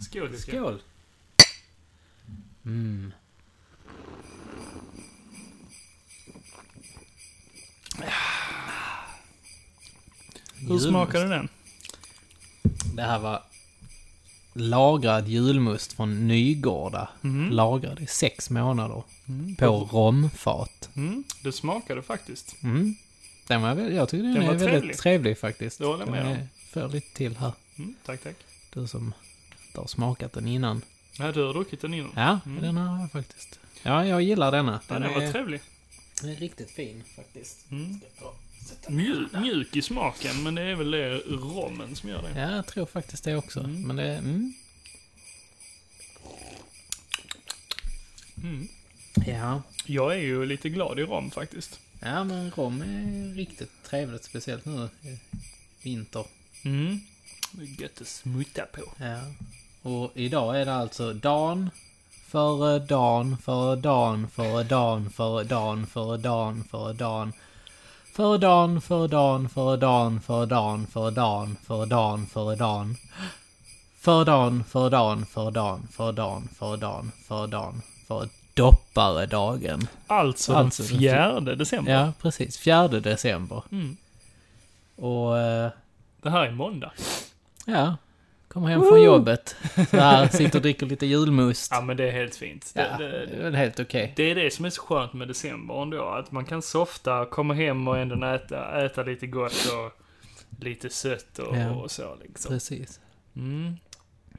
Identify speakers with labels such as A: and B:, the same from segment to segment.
A: Skål, Jocke.
B: Skål! Mm.
A: Hur smakade den?
B: Det här var lagrad julmust från Nygårda.
A: Mm.
B: Lagrad i sex månader.
A: Mm.
B: På romfat.
A: Mm. Det smakade faktiskt.
B: Mm. Den var, väl- jag tycker den,
A: Den
B: är
A: var
B: väldigt
A: trevlig.
B: trevlig, faktiskt.
A: Det håller jag med
B: Den
A: om.
B: är- För lite till här.
A: Mm. Tack, tack.
B: Du som inte har smakat den innan.
A: Nej, du har druckit den innan.
B: Ja,
A: Mm.
B: den har jag faktiskt. Ja, jag gillar denna.
A: Ja, den var trevlig.
B: den är riktigt fin faktiskt.
A: Mm. Mjuk, mjuk i smaken, men det är väl det rommen som gör det.
B: Ja, jag tror faktiskt det också.
A: Mm.
B: Men det... Mm.
A: Mm.
B: Ja.
A: Jag är ju lite glad i rom faktiskt.
B: Ja, men rom är riktigt trevligt. Speciellt nu i vinter.
A: Mm. Det är gött att smutta på.
B: Ja. Och idag är det alltså dan före dan före dan före dan före dan före dan före dan före dan före dan före dan före dan före dan före dan före dan före dan före dan före dan före dan före dan före dan före dopparedagen.
A: Alltså,
B: Alltså,
A: den fjärde december.
B: Ja, precis. fjärde december.
A: Mm.
B: Och eh,
A: Det här är måndag.
B: ja, kommer hem från jobbet. Så här sitter och dricker lite julmust.
A: Ja, men det är helt fint.
B: Ja,
A: Det,
B: det
A: det,
B: är väl helt okej.
A: det är det som är så skönt med december ändå. Att man kan softa, komma hem och ändå äta, äta lite gott och lite sött och,
B: Ja.
A: och så liksom.
B: Precis.
A: Mm.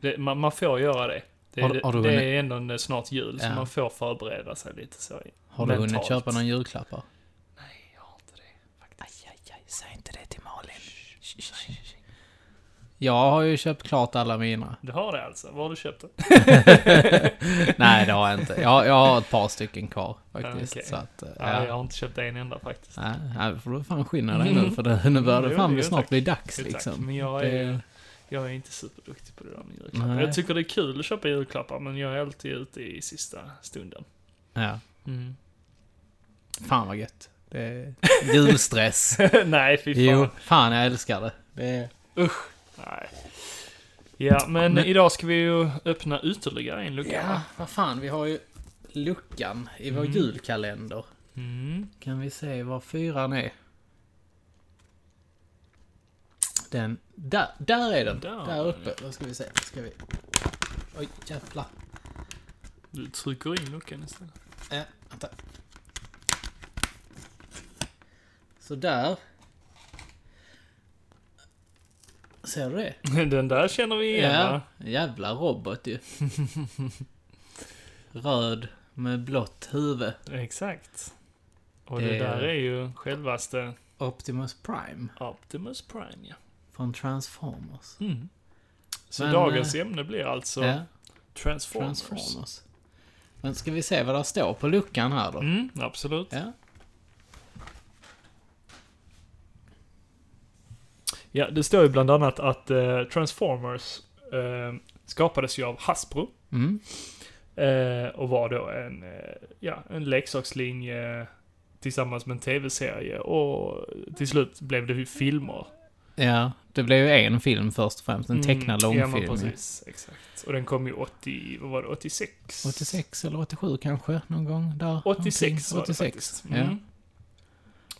A: Det, man, man får göra det. Det,
B: Har du- har du
A: det
B: hunnit-
A: är ändå en- eh, snart jul, så
B: Ja.
A: man får förbereda sig lite så.
B: Har du hunnit
A: mentalt.
B: köpa någon julklappar?
A: Nej, jag har inte det.
B: Aj, aj, aj, säg inte det till Malin. Jag har ju köpt klart alla mina.
A: Du har det alltså? Var har du köpt det?
B: Nej, det har jag inte. Jag, jag har ett par stycken kvar faktiskt.
A: Ah, okej.
B: Så att, eh,
A: Nej, jag
B: ja.
A: har inte köpt en enda faktiskt.
B: Nej, nej, då får du fan skynda dig nu för det, nu börjar
A: Jo,
B: det fan
A: jo,
B: snart
A: tack.
B: bli dags
A: Jo, tack. Mm.
B: liksom.
A: Men jag
B: Det-
A: är, jag är inte superduktig på det där med julklappar.
B: Nej.
A: Jag tycker det är kul att köpa julklappar, men jag är alltid ute i sista stunden.
B: Ja,
A: Mm.
B: fan vad gött. Det är julstress.
A: Nej, fy fan.
B: jo, fan jag älskar det. det är...
A: Nej. Ja, men,
B: Men-
A: idag ska vi ju öppna ytterligare en lucka.
B: Ja,
A: va?
B: vad fan, vi har ju luckan i vår
A: Mm.
B: julkalender.
A: Mm.
B: Kan vi se var fyran är? Den, där, där är den!
A: Där.
B: Där, uppe. Då ska vi se, ska vi... Oj, jävlar.
A: Du trycker in luckan istället.
B: Äh, vänta. Så där. Ser du det?
A: Den där känner vi igen, va?
B: Jävla robot ju. Röd med blått huvud.
A: Exakt. Och det,
B: Det-
A: där är ju självaste
B: Optimus Prime
A: Optimus Prime, ja.
B: från Transformers.
A: Mm. Så
B: Men, eh,
A: dagens ämne blir alltså
B: Ja.
A: Transformers.
B: Transformers. Men ska vi se vad det står på luckan här då?
A: Mm, absolut.
B: Ja.
A: Ja, det står ju bland annat att eh, Transformers eh, skapades ju av Hasbro
B: Mm.
A: eh, och var då en, eh, ja, en leksakslinje tillsammans med en tv-serie och till slut blev det ju filmer.
B: ja, det blev ju en film först och främst. En tecknad
A: Mm,
B: långfilm.
A: Ja, men
B: ju.
A: precis. Exakt. Och den kom ju 80, vad var det, 86?
B: 86 eller 87 kanske, någon gång där.
A: 86 var
B: omkring.
A: det faktiskt.
B: ja.
A: Mm.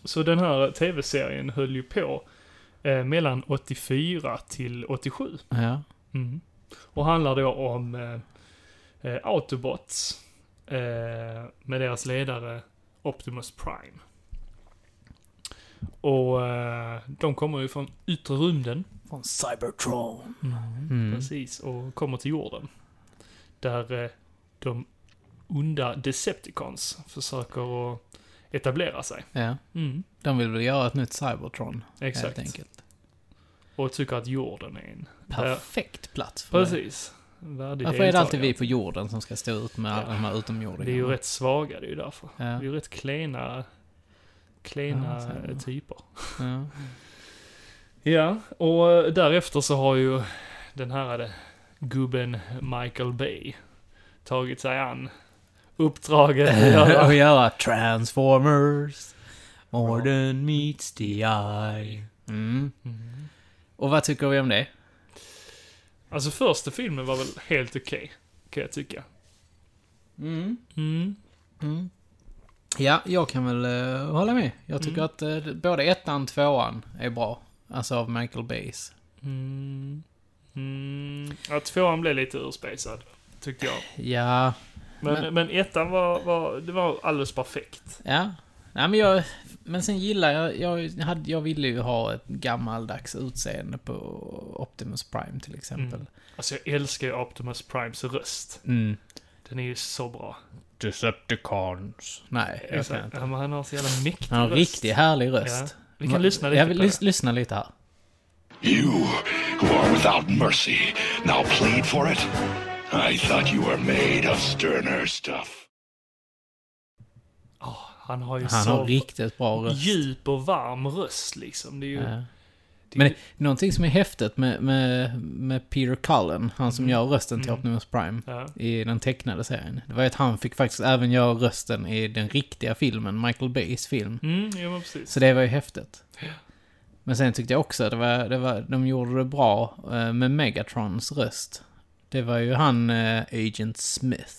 A: Så den här tv-serien höll ju på eh, mellan 84 till 87.
B: ja.
A: Mm. Och handlar då om eh, eh, Autobots eh, med deras ledare Optimus Prime. Och eh, de kommer ju från yttre rymden.
B: Från Cybertron. Mm.
A: Precis, och kommer till jorden. Där eh, de onda Decepticons försöker att etablera sig.
B: Ja.
A: Mm,
B: De vill väl göra ett nytt Cybertron, helt
A: exakt.
B: enkelt.
A: Och tycker att jorden är en... Ja,
B: Perfekt plats för det.
A: precis. Värdig
B: Varför är det alltid
A: deltagare.
B: vi på jorden som ska stå ut med alla
A: Ja.
B: de här
A: Det
B: utomjordingarna?
A: är ju rätt svaga, det är ju därför.
B: Ja.
A: Vi är ju rätt klena, klena
B: Ja, så är det.
A: typer.
B: Ja.
A: Ja, och eh, därefter så har ju den här eh, gubben Michael Bay tagit sig an uppdraget att göra
B: och göra Transformers. More than meets Mm. the eye. Mm. Och vad tycker vi om det?
A: Alltså första filmen var väl helt okej, kan jag tycka.
B: Mm.
A: Mm.
B: Mm. Ja, jag kan väl eh, hålla med. Jag tycker
A: Mm.
B: att eh, både ettan och tvåan är bra. Alltså av Michael Bays.
A: Mm. Mm. Ja, tvåan blev lite urspejsad, tyckte jag.
B: Ja,
A: Men, men,
B: Men-
A: ettan var, var, det var alldeles perfekt.
B: ja. Nej, men, jag, men sen gillar jag, jag, hade, jag ville ju ha ett gammaldags utseende på Optimus Prime till exempel.
A: Alltså jag älskar ju Optimus Primes röst.
B: Mm.
A: Den är ju så bra.
B: Decepticons. Nej, jag kan
A: Exakt.
B: inte.
A: Ja, men han har så jävla mäktig
B: Han har en
A: röst.
B: riktigt härlig röst.
A: Vi kan lyssna lite
B: jag
A: på
B: vill
A: det.
B: lys- lyssna lite här.
C: You, who are without mercy, now plead for it? I thought you were made of sterner stuff.
A: Åh, han har ju
B: Han
A: så
B: har riktigt bra röst.
A: djup och varm röst liksom. Det är ju...
B: Ja.
A: Det är
B: Men
A: ju-
B: någonting som är häftigt med, med, med Peter Cullen, han som gör rösten till
A: Mm.
B: Optimus Prime
A: ja.
B: i den tecknade serien. Det var ju att han fick faktiskt även göra rösten i den riktiga filmen, Michael Bays film.
A: Mm, ja men precis.
B: Så det var ju häftigt. Men sen tyckte jag också att det var, det var, de gjorde det bra eh, med Megatrons röst. Det var ju han eh, Agent Smith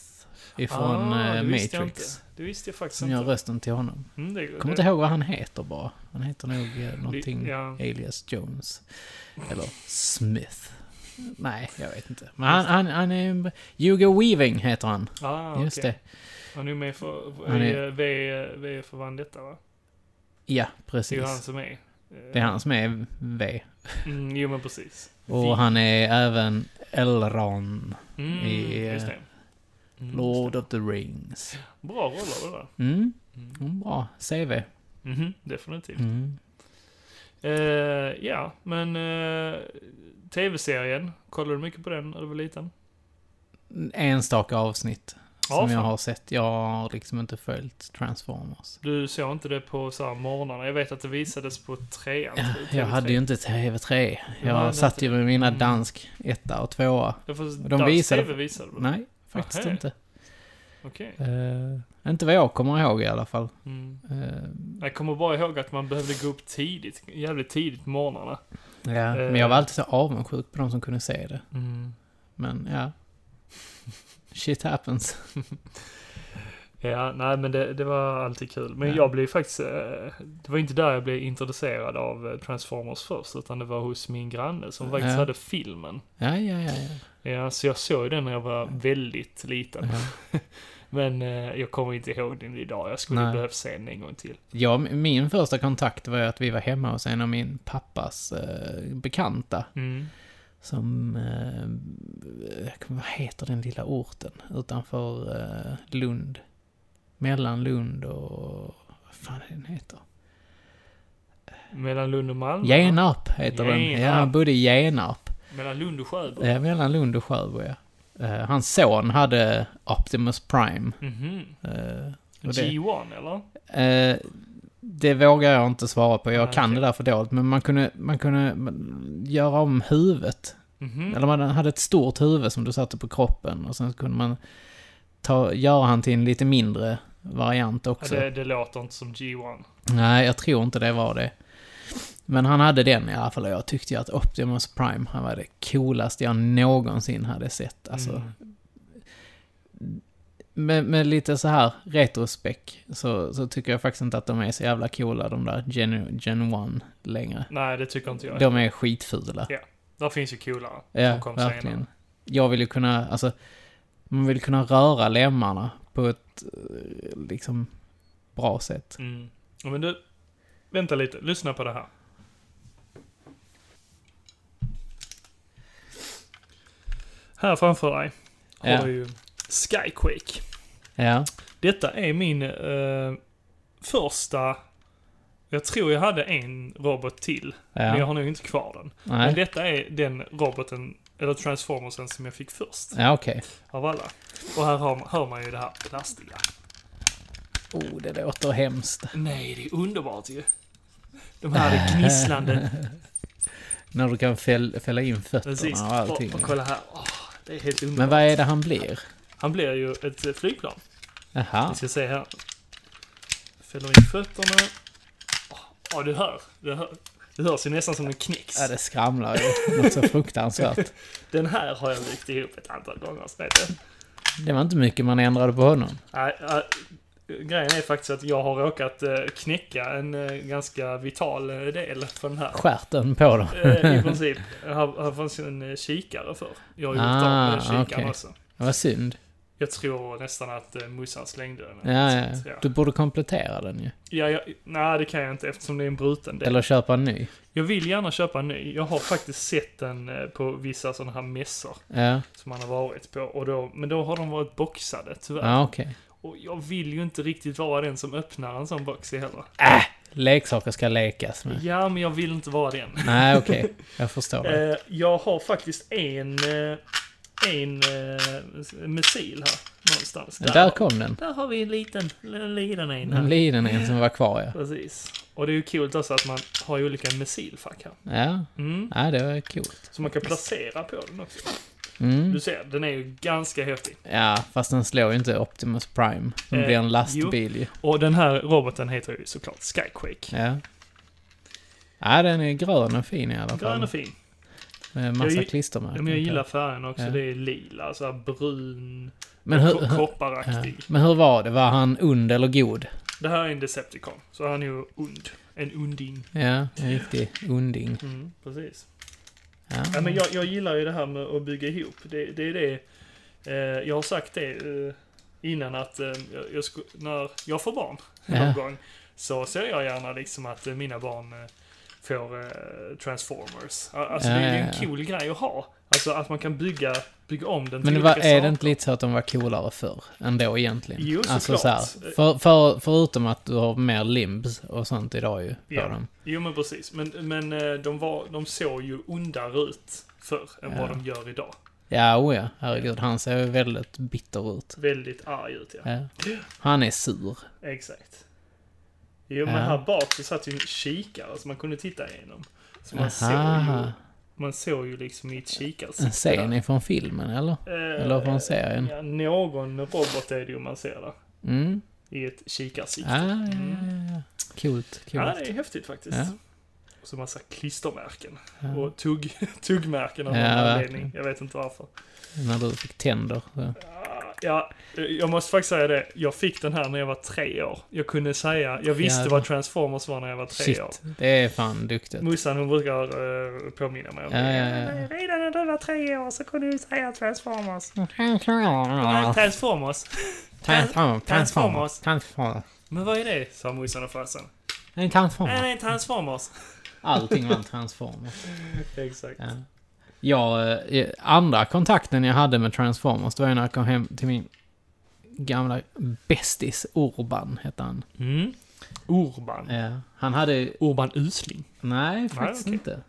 B: ifrån
A: Ah,
B: eh,
A: det visste jag
B: Matrix.
A: inte. Det visste jag faktiskt
B: Som gör
A: inte.
B: rösten till honom.
A: Mm, det,
B: Kommer inte ihåg vad han heter bara. Han heter nog eh, någonting...
A: Ja.
B: Alias Jones. Eller Smith. Nej, jag vet inte. Men han, han, han är en... Hugo Weaving heter han.
A: Ah,
B: Just
A: okej.
B: det.
A: Han är med för,
B: Han
A: i,
B: är-
A: eh, V, V för Vendetta va?
B: Ja,
A: Det är ju han
B: precis.
A: som är. eh,
B: Det är han som är V.
A: Mm, jo men precis.
B: Och han är även Elrond.
A: Mm,
B: i, eh,
A: just det. Mm,
B: Lord
A: just
B: of the Rings.
A: det. Bra roller det där.
B: Mm,
A: Mm.
B: mm, bra. CV.
A: Mhm, definitivt.
B: Mm.
A: Eh, ja, men eh, tv-serien, kollade du mycket på den när du var liten?
B: Enstaka avsnitt.
A: Ja,
B: Som jag
A: fan.
B: har sett. Jag har liksom inte följt Transformers.
A: Du såg inte det på så här morgnarna? Jag vet att det visades på trean. typ,
B: Ja,
A: tror
B: jag hade ju inte TV3. Jag
A: hade
B: satt
A: inte
B: ju med mina
A: Mm.
B: dansk etta och tvåa.
A: Ja, fast
B: de
A: dansk
B: visade-
A: TV visade väl?
B: Nej, faktiskt
A: Nähä.
B: inte.
A: Okej.
B: Eh, inte vad jag kommer ihåg i alla fall.
A: Mm.
B: Eh,
A: Jag kommer bara ihåg att man behövde gå upp tidigt, jävligt tidigt på morgnarna.
B: ja,
A: Eh.
B: Men jag var alltid så avundsjuk på de som kunde se det. Men ja. Shit happens.
A: Ja, nej men det, det var alltid kul. Men
B: Ja.
A: jag blev faktiskt, eh, det var inte där jag blev introducerad av eh, Transformers först, utan det var hos min granne som faktiskt
B: Ja.
A: hade filmen.
B: Ja, ja, ja. ja.
A: Ja, så jag såg den när jag var väldigt liten.
B: ja.
A: Men eh, jag kommer inte ihåg den idag. Jag skulle
B: Nej.
A: behövt se den en gång till.
B: Ja, min första kontakt var ju att vi var hemma hos en av min pappas eh, bekanta.
A: Mm.
B: Som... Eh, jag kommer- vad heter den lilla orten? Utanför eh, Lund. Mellan Lund och... Vad fan är den heter?
A: Mellan Lund och Malmö?
B: Genarp heter den. Ja,
A: Genarp.
B: han bodde i Genarp.
A: Mellan Lund och Sjöbo?
B: Eh, mellan Lund och Sjöbo, ja. Eh, hans son hade Optimus Prime.
A: Mhm.
B: Eh, och det,
A: G1 eller?
B: eh, det vågar jag inte svara på. Jag
A: Nej,
B: kan
A: okej.
B: det där för dåligt. Men man kunde, man kunde man, göra om huvudet.
A: Mhm.
B: Mm. Eller man hade ett stort huvud som du satte på kroppen. Och sen så kunde man ta, göra han till en lite mindre variant
A: Ja,
B: också.
A: det, det låter inte som G1.
B: Nej, jag tror inte det var det. Men han hade den i alla fall och jag tyckte ju att Optimus Prime, han var det coolaste jag någonsin hade sett. Alltså,
A: Mm.
B: med, med lite så här retrospekt så, så tycker jag faktiskt inte att de är så jävla coola, de där Gen, Gen 1 längre.
A: Nej, det tycker inte jag.
B: De är skitfula.
A: Där finns ju coolare.
B: Ja,
A: som kom
B: verkligen.
A: senare.
B: Jag vill ju kunna, alltså, man vill kunna röra lemmarna på ett, eh, liksom, bra sätt.
A: Mm. Ja, Men du, vänta lite. Lyssna på det här. Här framför dig har
B: Ja.
A: du ju Skyquake.
B: Ja,
A: Detta är min eh, första... Jag tror jag hade en robot till, men jag
B: ja,
A: har nog inte kvar den. Men
B: nej.
A: detta är den roboten, eller transformersen, som jag fick först
B: Ja, okej.
A: av alla. Och här hör, hör man ju det här plastiga.
B: Oh, det låter hemskt.
A: Nej, det är underbart ju. De här gnisslande...
B: När du kan fäll, fälla in
A: Precis.
B: fötterna och allting.
A: Och, och kolla här. Åh, det är helt underbart.
B: Men vad är det han blir?
A: Han blir ju ett eh, flygplan.
B: Jaha.
A: Vi ska se här. Fäller in fötterna. Åh, åh, du hör. Du hör. Det hörs ju nästan som den knäcks.
B: Ja, det skramlar ju. Något så fruktansvärt.
A: Den här har jag vikt ihop ett antal gånger. Så vet jag.
B: Det var inte mycket man ändrade på honom.
A: Nej, äh, grejen är faktiskt att jag har råkat eh, knäcka en eh, ganska vital eh, del för den här.
B: Stjärten på dem.
A: Eh, I princip. Här, här fanns ju en eh, kikare för. Jag har gjort av med
B: Ah,
A: kikaren
B: okej.
A: också.
B: Det var synd.
A: Jag tror nästan att eh, Musan slängde den.
B: Ja, ja. Du borde komplettera den ju.
A: ja jag, nej, det kan jag inte eftersom det är en bruten del.
B: Eller köpa en ny.
A: Jag vill gärna köpa en ny. Jag har faktiskt sett den eh, på vissa sådana här mässor
B: Ja,
A: som man har varit på. Och då, men då har de varit boxade, tyvärr.
B: ja okej.
A: Och jag vill ju inte riktigt vara den som öppnar en sån box i heller.
B: Äh, Leksaker ska lekas med.
A: Ja, men jag vill inte vara den.
B: Nej, okej. Jag förstår det.
A: Eh, jag har faktiskt en, eh, en eh, missil här någonstans.
B: Där kom den.
A: Där har vi en liten, en liten en
B: Den
A: här.
B: blir den en som var kvar, ja.
A: Precis. Och det är ju coolt också att man har ju olika missilfack här.
B: Ja,
A: Mm.
B: ja det var coolt.
A: Så man kan placera på den också.
B: Mm.
A: Du ser, den är ju ganska häftig.
B: Ja, fast den slår ju inte Optimus Prime. Den
A: Eh,
B: blir en lastbil ju.
A: Och den här roboten heter ju såklart Skyquake.
B: Ja. ja, den är grön och fin i alla fall.
A: Grön och fin.
B: Med massa
A: Jag gi-
B: klistermärken.
A: Ja, men jag
B: på.
A: gillar färgen också.
B: Ja.
A: Det är lila, så här brun,
B: men hur,
A: ko-
B: hur, ja.
A: kopparaktig.
B: men hur var det? Var han ond eller god?
A: Det här är en Decepticon, så han är ju ond. En unding.
B: Ja, en riktig onding.
A: Mm, precis.
B: Ja.
A: Ja, men jag, jag gillar ju det här med att bygga ihop. Det, det är det. Eh, jag har sagt det eh, innan att eh, jag, jag sku, när jag får barn
B: Ja.
A: någon gång så ser jag gärna liksom att eh, mina barn eh, får eh, transformers. A- Alltså det är ju
B: Ja, ja,
A: en cool grej att ha. Alltså att man kan bygga, bygga om den
B: Men det
A: till
B: var,
A: olika
B: är det
A: saker.
B: inte lite så att de var coolare förr ändå egentligen?
A: Jo,
B: alltså, så
A: såklart.
B: här, för, för, förutom att du har mer limbs och sånt idag ju. På
A: Ja.
B: dem.
A: Jo men precis. Men, men eh, de, var, de såg ju ondare ut förr än
B: Ja.
A: vad de gör idag.
B: ja oh ja. Herregud, han ser ju väldigt bitter ut.
A: Väldigt arg ut ja.
B: Ja. Han är sur.
A: Exakt. Jo men
B: Ja.
A: här bak så satt ju en kikare som man kunde titta igenom. Så man såg ju,
B: Aha.
A: man såg ju liksom i ett kikarsikte.
B: En scen
A: där.
B: ifrån filmen eller?
A: Eh,
B: Eller från serien?
A: Ja, någon robot är det ju man ser där.
B: Mm.
A: I ett kikarsikte.
B: Ah, ja, ja, ja, ja. Coolt, coolt.
A: Ja, det är häftigt faktiskt.
B: Ja.
A: Och så massa klistermärken.
B: Ja.
A: Och tugg, tuggmärken av
B: Ja,
A: någon anledning.
B: verkligen.
A: Jag vet inte varför.
B: När du fick tänder. Så.
A: Ja, eh, jag måste faktiskt säga det. Jag fick den här när jag var tre år. Jag kunde säga, jag visste
B: Jävlar.
A: vad Transformers var när jag Mm. var tre år.
B: Shit, det är fan duktigt.
A: Mussan hon brukar eh, påminna mig om
B: Ja,
A: det.
B: ja, ja.
A: Redan när du var tre år så kunde du säga Transformers. Transformers?
B: Transformers.
A: Transformers.
B: Transformers. Transformers.
A: Men vad är det? sa morsan och farsan.
B: En
A: Nej,
B: transformer.
A: nej, Transformers.
B: Allting var en transformer.
A: Exakt.
B: Ja. Jag, eh, andra kontakten jag hade med Transformers, det var ju när jag kom hem till min gamla bästis Urban, hette han.
A: Mm. Urban.
B: Ja. Han hade
A: Urban Usling.
B: Nej, faktiskt
A: okej.
B: inte.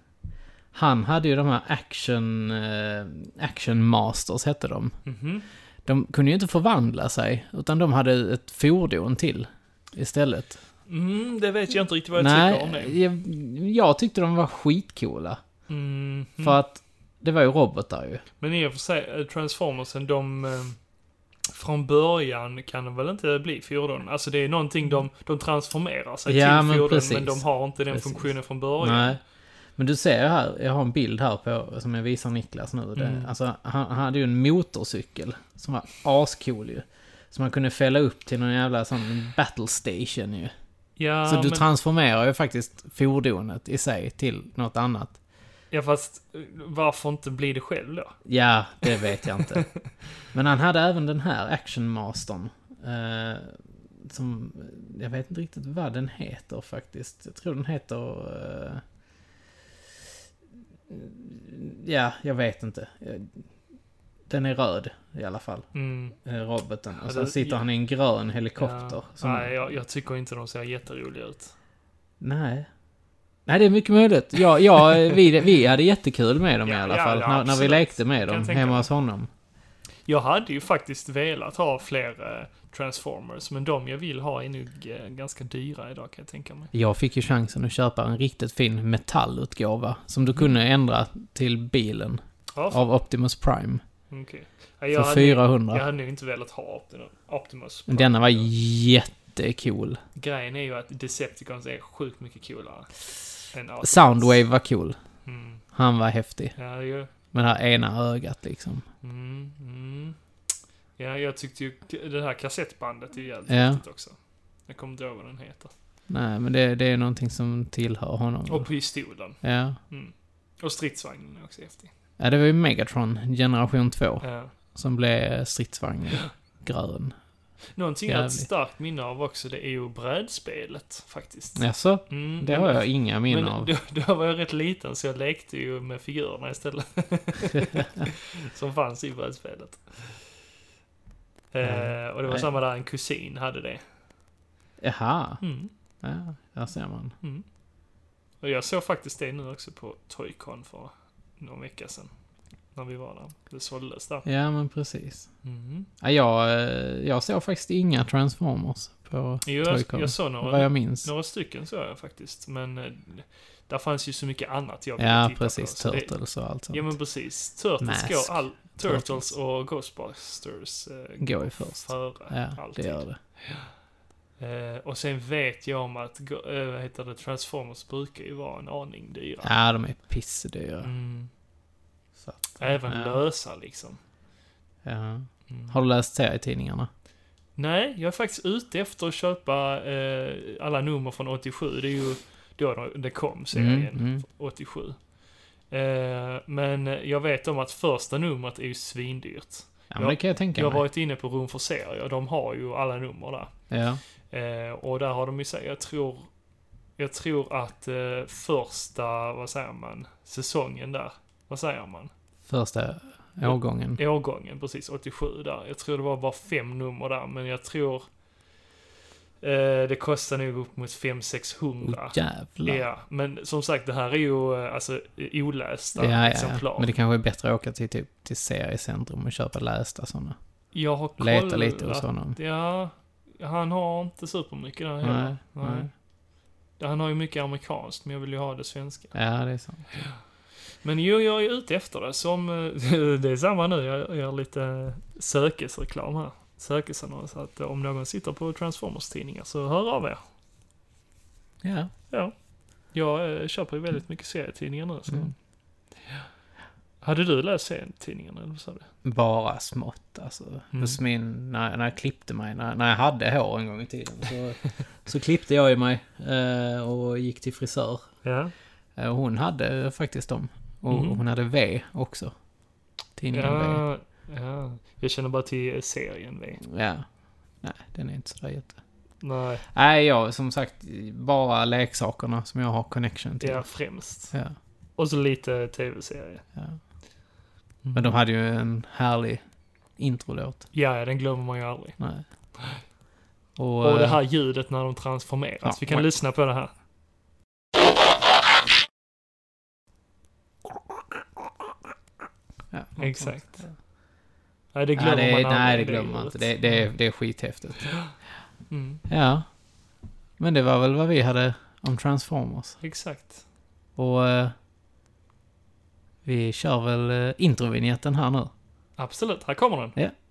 B: Han hade ju de här action, eh, action masters hette de.
A: Mhm.
B: De kunde ju inte förvandla sig, utan de hade ett fordon till istället.
A: Mm, det vet jag inte riktigt vad jag
B: Nej,
A: tycker om det.
B: jag, jag tyckte de var skitcoola.
A: Mm.
B: För att det var ju robotar ju.
A: Men i och för sig, eh, Transformersen, de... eh, Från början kan de väl inte bli fordon? Alltså det är någonting de, de transformerar sig
B: Ja,
A: till
B: men
A: fordon,
B: precis.
A: men de har inte den
B: Precis.
A: funktionen från början.
B: Nej. Men du ser ju här, jag har en bild här på, som jag visar Niklas nu. Det,
A: Mm.
B: alltså, han, han hade ju en motorcykel som var ascool ju. Som man kunde fälla upp till någon jävla sån battle station ju.
A: Ja,
B: Så du
A: men,
B: transformerar ju faktiskt fordonet i sig till något annat.
A: ja, fast eh, varför inte bli det själv då?
B: Ja, det vet jag inte. Men han hade även den här actionmastern. Eh, som, jag vet inte riktigt vad den heter faktiskt. Jag tror den heter... Eh, ja, jag vet inte. Eh, Den är röd i alla fall,
A: Mm,
B: eh,
A: Alltså,
B: roboten.
A: Ja,
B: Och sen
A: det-
B: sitter han i en grön helikopter.
A: ja.
B: som-
A: Nej, jag, jag tycker inte de ser jätteroliga ut.
B: Nej. Nej, det är mycket möjligt. Ja, ja, vi, vi hade jättekul med dem i
A: Ja,
B: alla
A: ja,
B: fall.
A: ja,
B: när, när vi
A: absolut.
B: lekte med
A: Kan
B: dem
A: jag tänka
B: hemma
A: mig.
B: hos honom.
A: Jag hade ju faktiskt velat ha fler eh, Transformers, men de jag vill ha är nog eh, ganska dyra idag kan jag tänka mig.
B: Jag fick ju chansen att köpa en riktigt fin metallutgåva som du kunde ändra till bilen
A: Ja, f-
B: av Optimus Prime
A: okej. Ja, jag,
B: för
A: hade,
B: 400.
A: jag hade nog inte velat ha Optimus. Optimus
B: Men Denna var jättecool.
A: Grejen är ju att Decepticons är sjukt mycket coolare. en Outlast.
B: Soundwave var cool.
A: Mm.
B: Han var häftig.
A: Ja, det gör...
B: Med det här ena ögat liksom.
A: Mm, mm. Ja, jag tyckte ju k- det här kassettbandet är jävligt
B: Ja.
A: häftigt också. Jag kommer inte ihåg vad den heter.
B: Nej, men det, det är någonting som tillhör honom.
A: Och pistolen.
B: Ja.
A: Mm. Och stridsvagnen är också häftig. Eh,
B: ja, det var ju Megatron, generation 2,
A: Ja.
B: som blev stridsvagnen grön.
A: Någonting jag har ett
B: Jävligt.
A: starkt minne av också, det är ju brädspelet faktiskt.
B: Jaså?
A: Mm,
B: Det har jag inga minnen
A: Men
B: av.
A: då, då var jag rätt liten så jag lekte ju med figurerna istället. Som fanns i brädspelet. Eh, och det var
B: Nej.
A: samma där, en kusin hade det.
B: Jaha,
A: Mm,
B: ja, där ser man.
A: mm. Och jag såg faktiskt det nu också på Toycon för någon vecka sedan. När vi var där. Det såldes där.
B: Ja, men precis.
A: Mm.
B: Ja, jag, eh, jag såg faktiskt inga Transformers på
A: Jo, jag,
B: Toycon.
A: jag såg några,
B: Vad jag minns.
A: några stycken såg jag faktiskt. Men eh, där fanns ju så mycket annat jag ville
B: Ja,
A: titta
B: precis.
A: på. så det-
B: Turtles och allt sånt.
A: Ja men precis. Turtles
B: Mask.
A: går all... Turtles,
B: Turtles.
A: och Ghostbusters eh,
B: Går ju först.
A: före
B: Ja, det
A: alltid.
B: gör det.
A: Eh, och sen vet jag om att go- eh, vad heter det, Transformers brukar ju vara en aning dyra.
B: Ja, de är pissdyra.
A: Mm.
B: Så att,
A: Även
B: Ja.
A: lösa liksom.
B: ja.
A: Mm.
B: Har du läst serietidningarna?
A: Nej, jag är faktiskt ute efter att köpa eh, alla nummer från 87. Det är ju då de- det kom serien.
B: Mm, mm.
A: 87. Eh, men jag vet om att första numret är ju svindyrt.
B: Ja, men
A: Jag-
B: det kan jag tänka
A: Jag har
B: mig.
A: varit inne på Rum för serier och de har ju alla nummer där.
B: Ja.
A: Eh, och där har de ju sagt, jag tror, jag tror att eh, första, vad säger man, säsongen där, vad säger man?
B: Första årgången.
A: Årgången, precis, 87 där. Jag tror det var bara fem nummer där, men jag tror eh, det kostar nog upp mot 500-600.
B: Åh jävlar.
A: Ja, men som sagt det här är ju eh, alltså olästa exemplar.
B: Men det kanske är bättre att åka till, typ, till seriecentrum och köpa lästa sådana.
A: Jag har kollat.
B: Leta lite hos honom.
A: Ja, han har inte supermycket där heller. Nej.
B: nej.
A: Han har ju mycket amerikanskt, men jag vill ju ha det svenska.
B: Ja, det är sant.
A: Men jo, jag är ute efter det. Som, eh, det är samma nu, jag gör lite sökesreklam här. Sökesannons. Så att om någon sitter på Transformers-tidningar så hör av er.
B: Ja.
A: Ja. Jag eh, köper ju väldigt mycket serietidningar nu. Så.
B: Mm.
A: Ja. Hade du läst serietidningarna, eller vad sa du?
B: Bara smått alltså.
A: Mm.
B: Hos min, när, när jag klippte mig, när, när jag hade hår en gång i tiden, så, så klippte jag ju mig eh, och gick till frisör.
A: Ja.
B: Eh, och hon hade faktiskt dem. Och
A: Mhm.
B: hon hade V också. Tidningen V.
A: Ja, ja. Jag känner bara till eh, serien V.
B: Ja. Nej, den är inte sådär jätte...
A: Nej,
B: Nej, jag som sagt, bara leksakerna som jag har connection till.
A: det är främst.
B: Ja,
A: Och så lite tv-serie. Mm.
B: ja. Men de hade ju en härlig introlåt.
A: Ja, ja, den glömmer man ju aldrig.
B: Nej. Och, eh,
A: Och det här ljudet när de transformeras.
B: Ja.
A: Vi kan lyssna på det här.
B: Ja,
A: Exakt. Nej, det
B: Nej,
A: glömmer
B: det,
A: man aldrig.
B: nej, det glömmer man inte.
A: ljudet.
B: Det, det, är, det är skithäftigt.
A: Mm,
B: Ja. Men det var väl vad vi hade om Transformers.
A: exakt.
B: Och eh, vi kör väl eh, introvinjetten här nu.
A: Absolut, här kommer den.
B: Ja.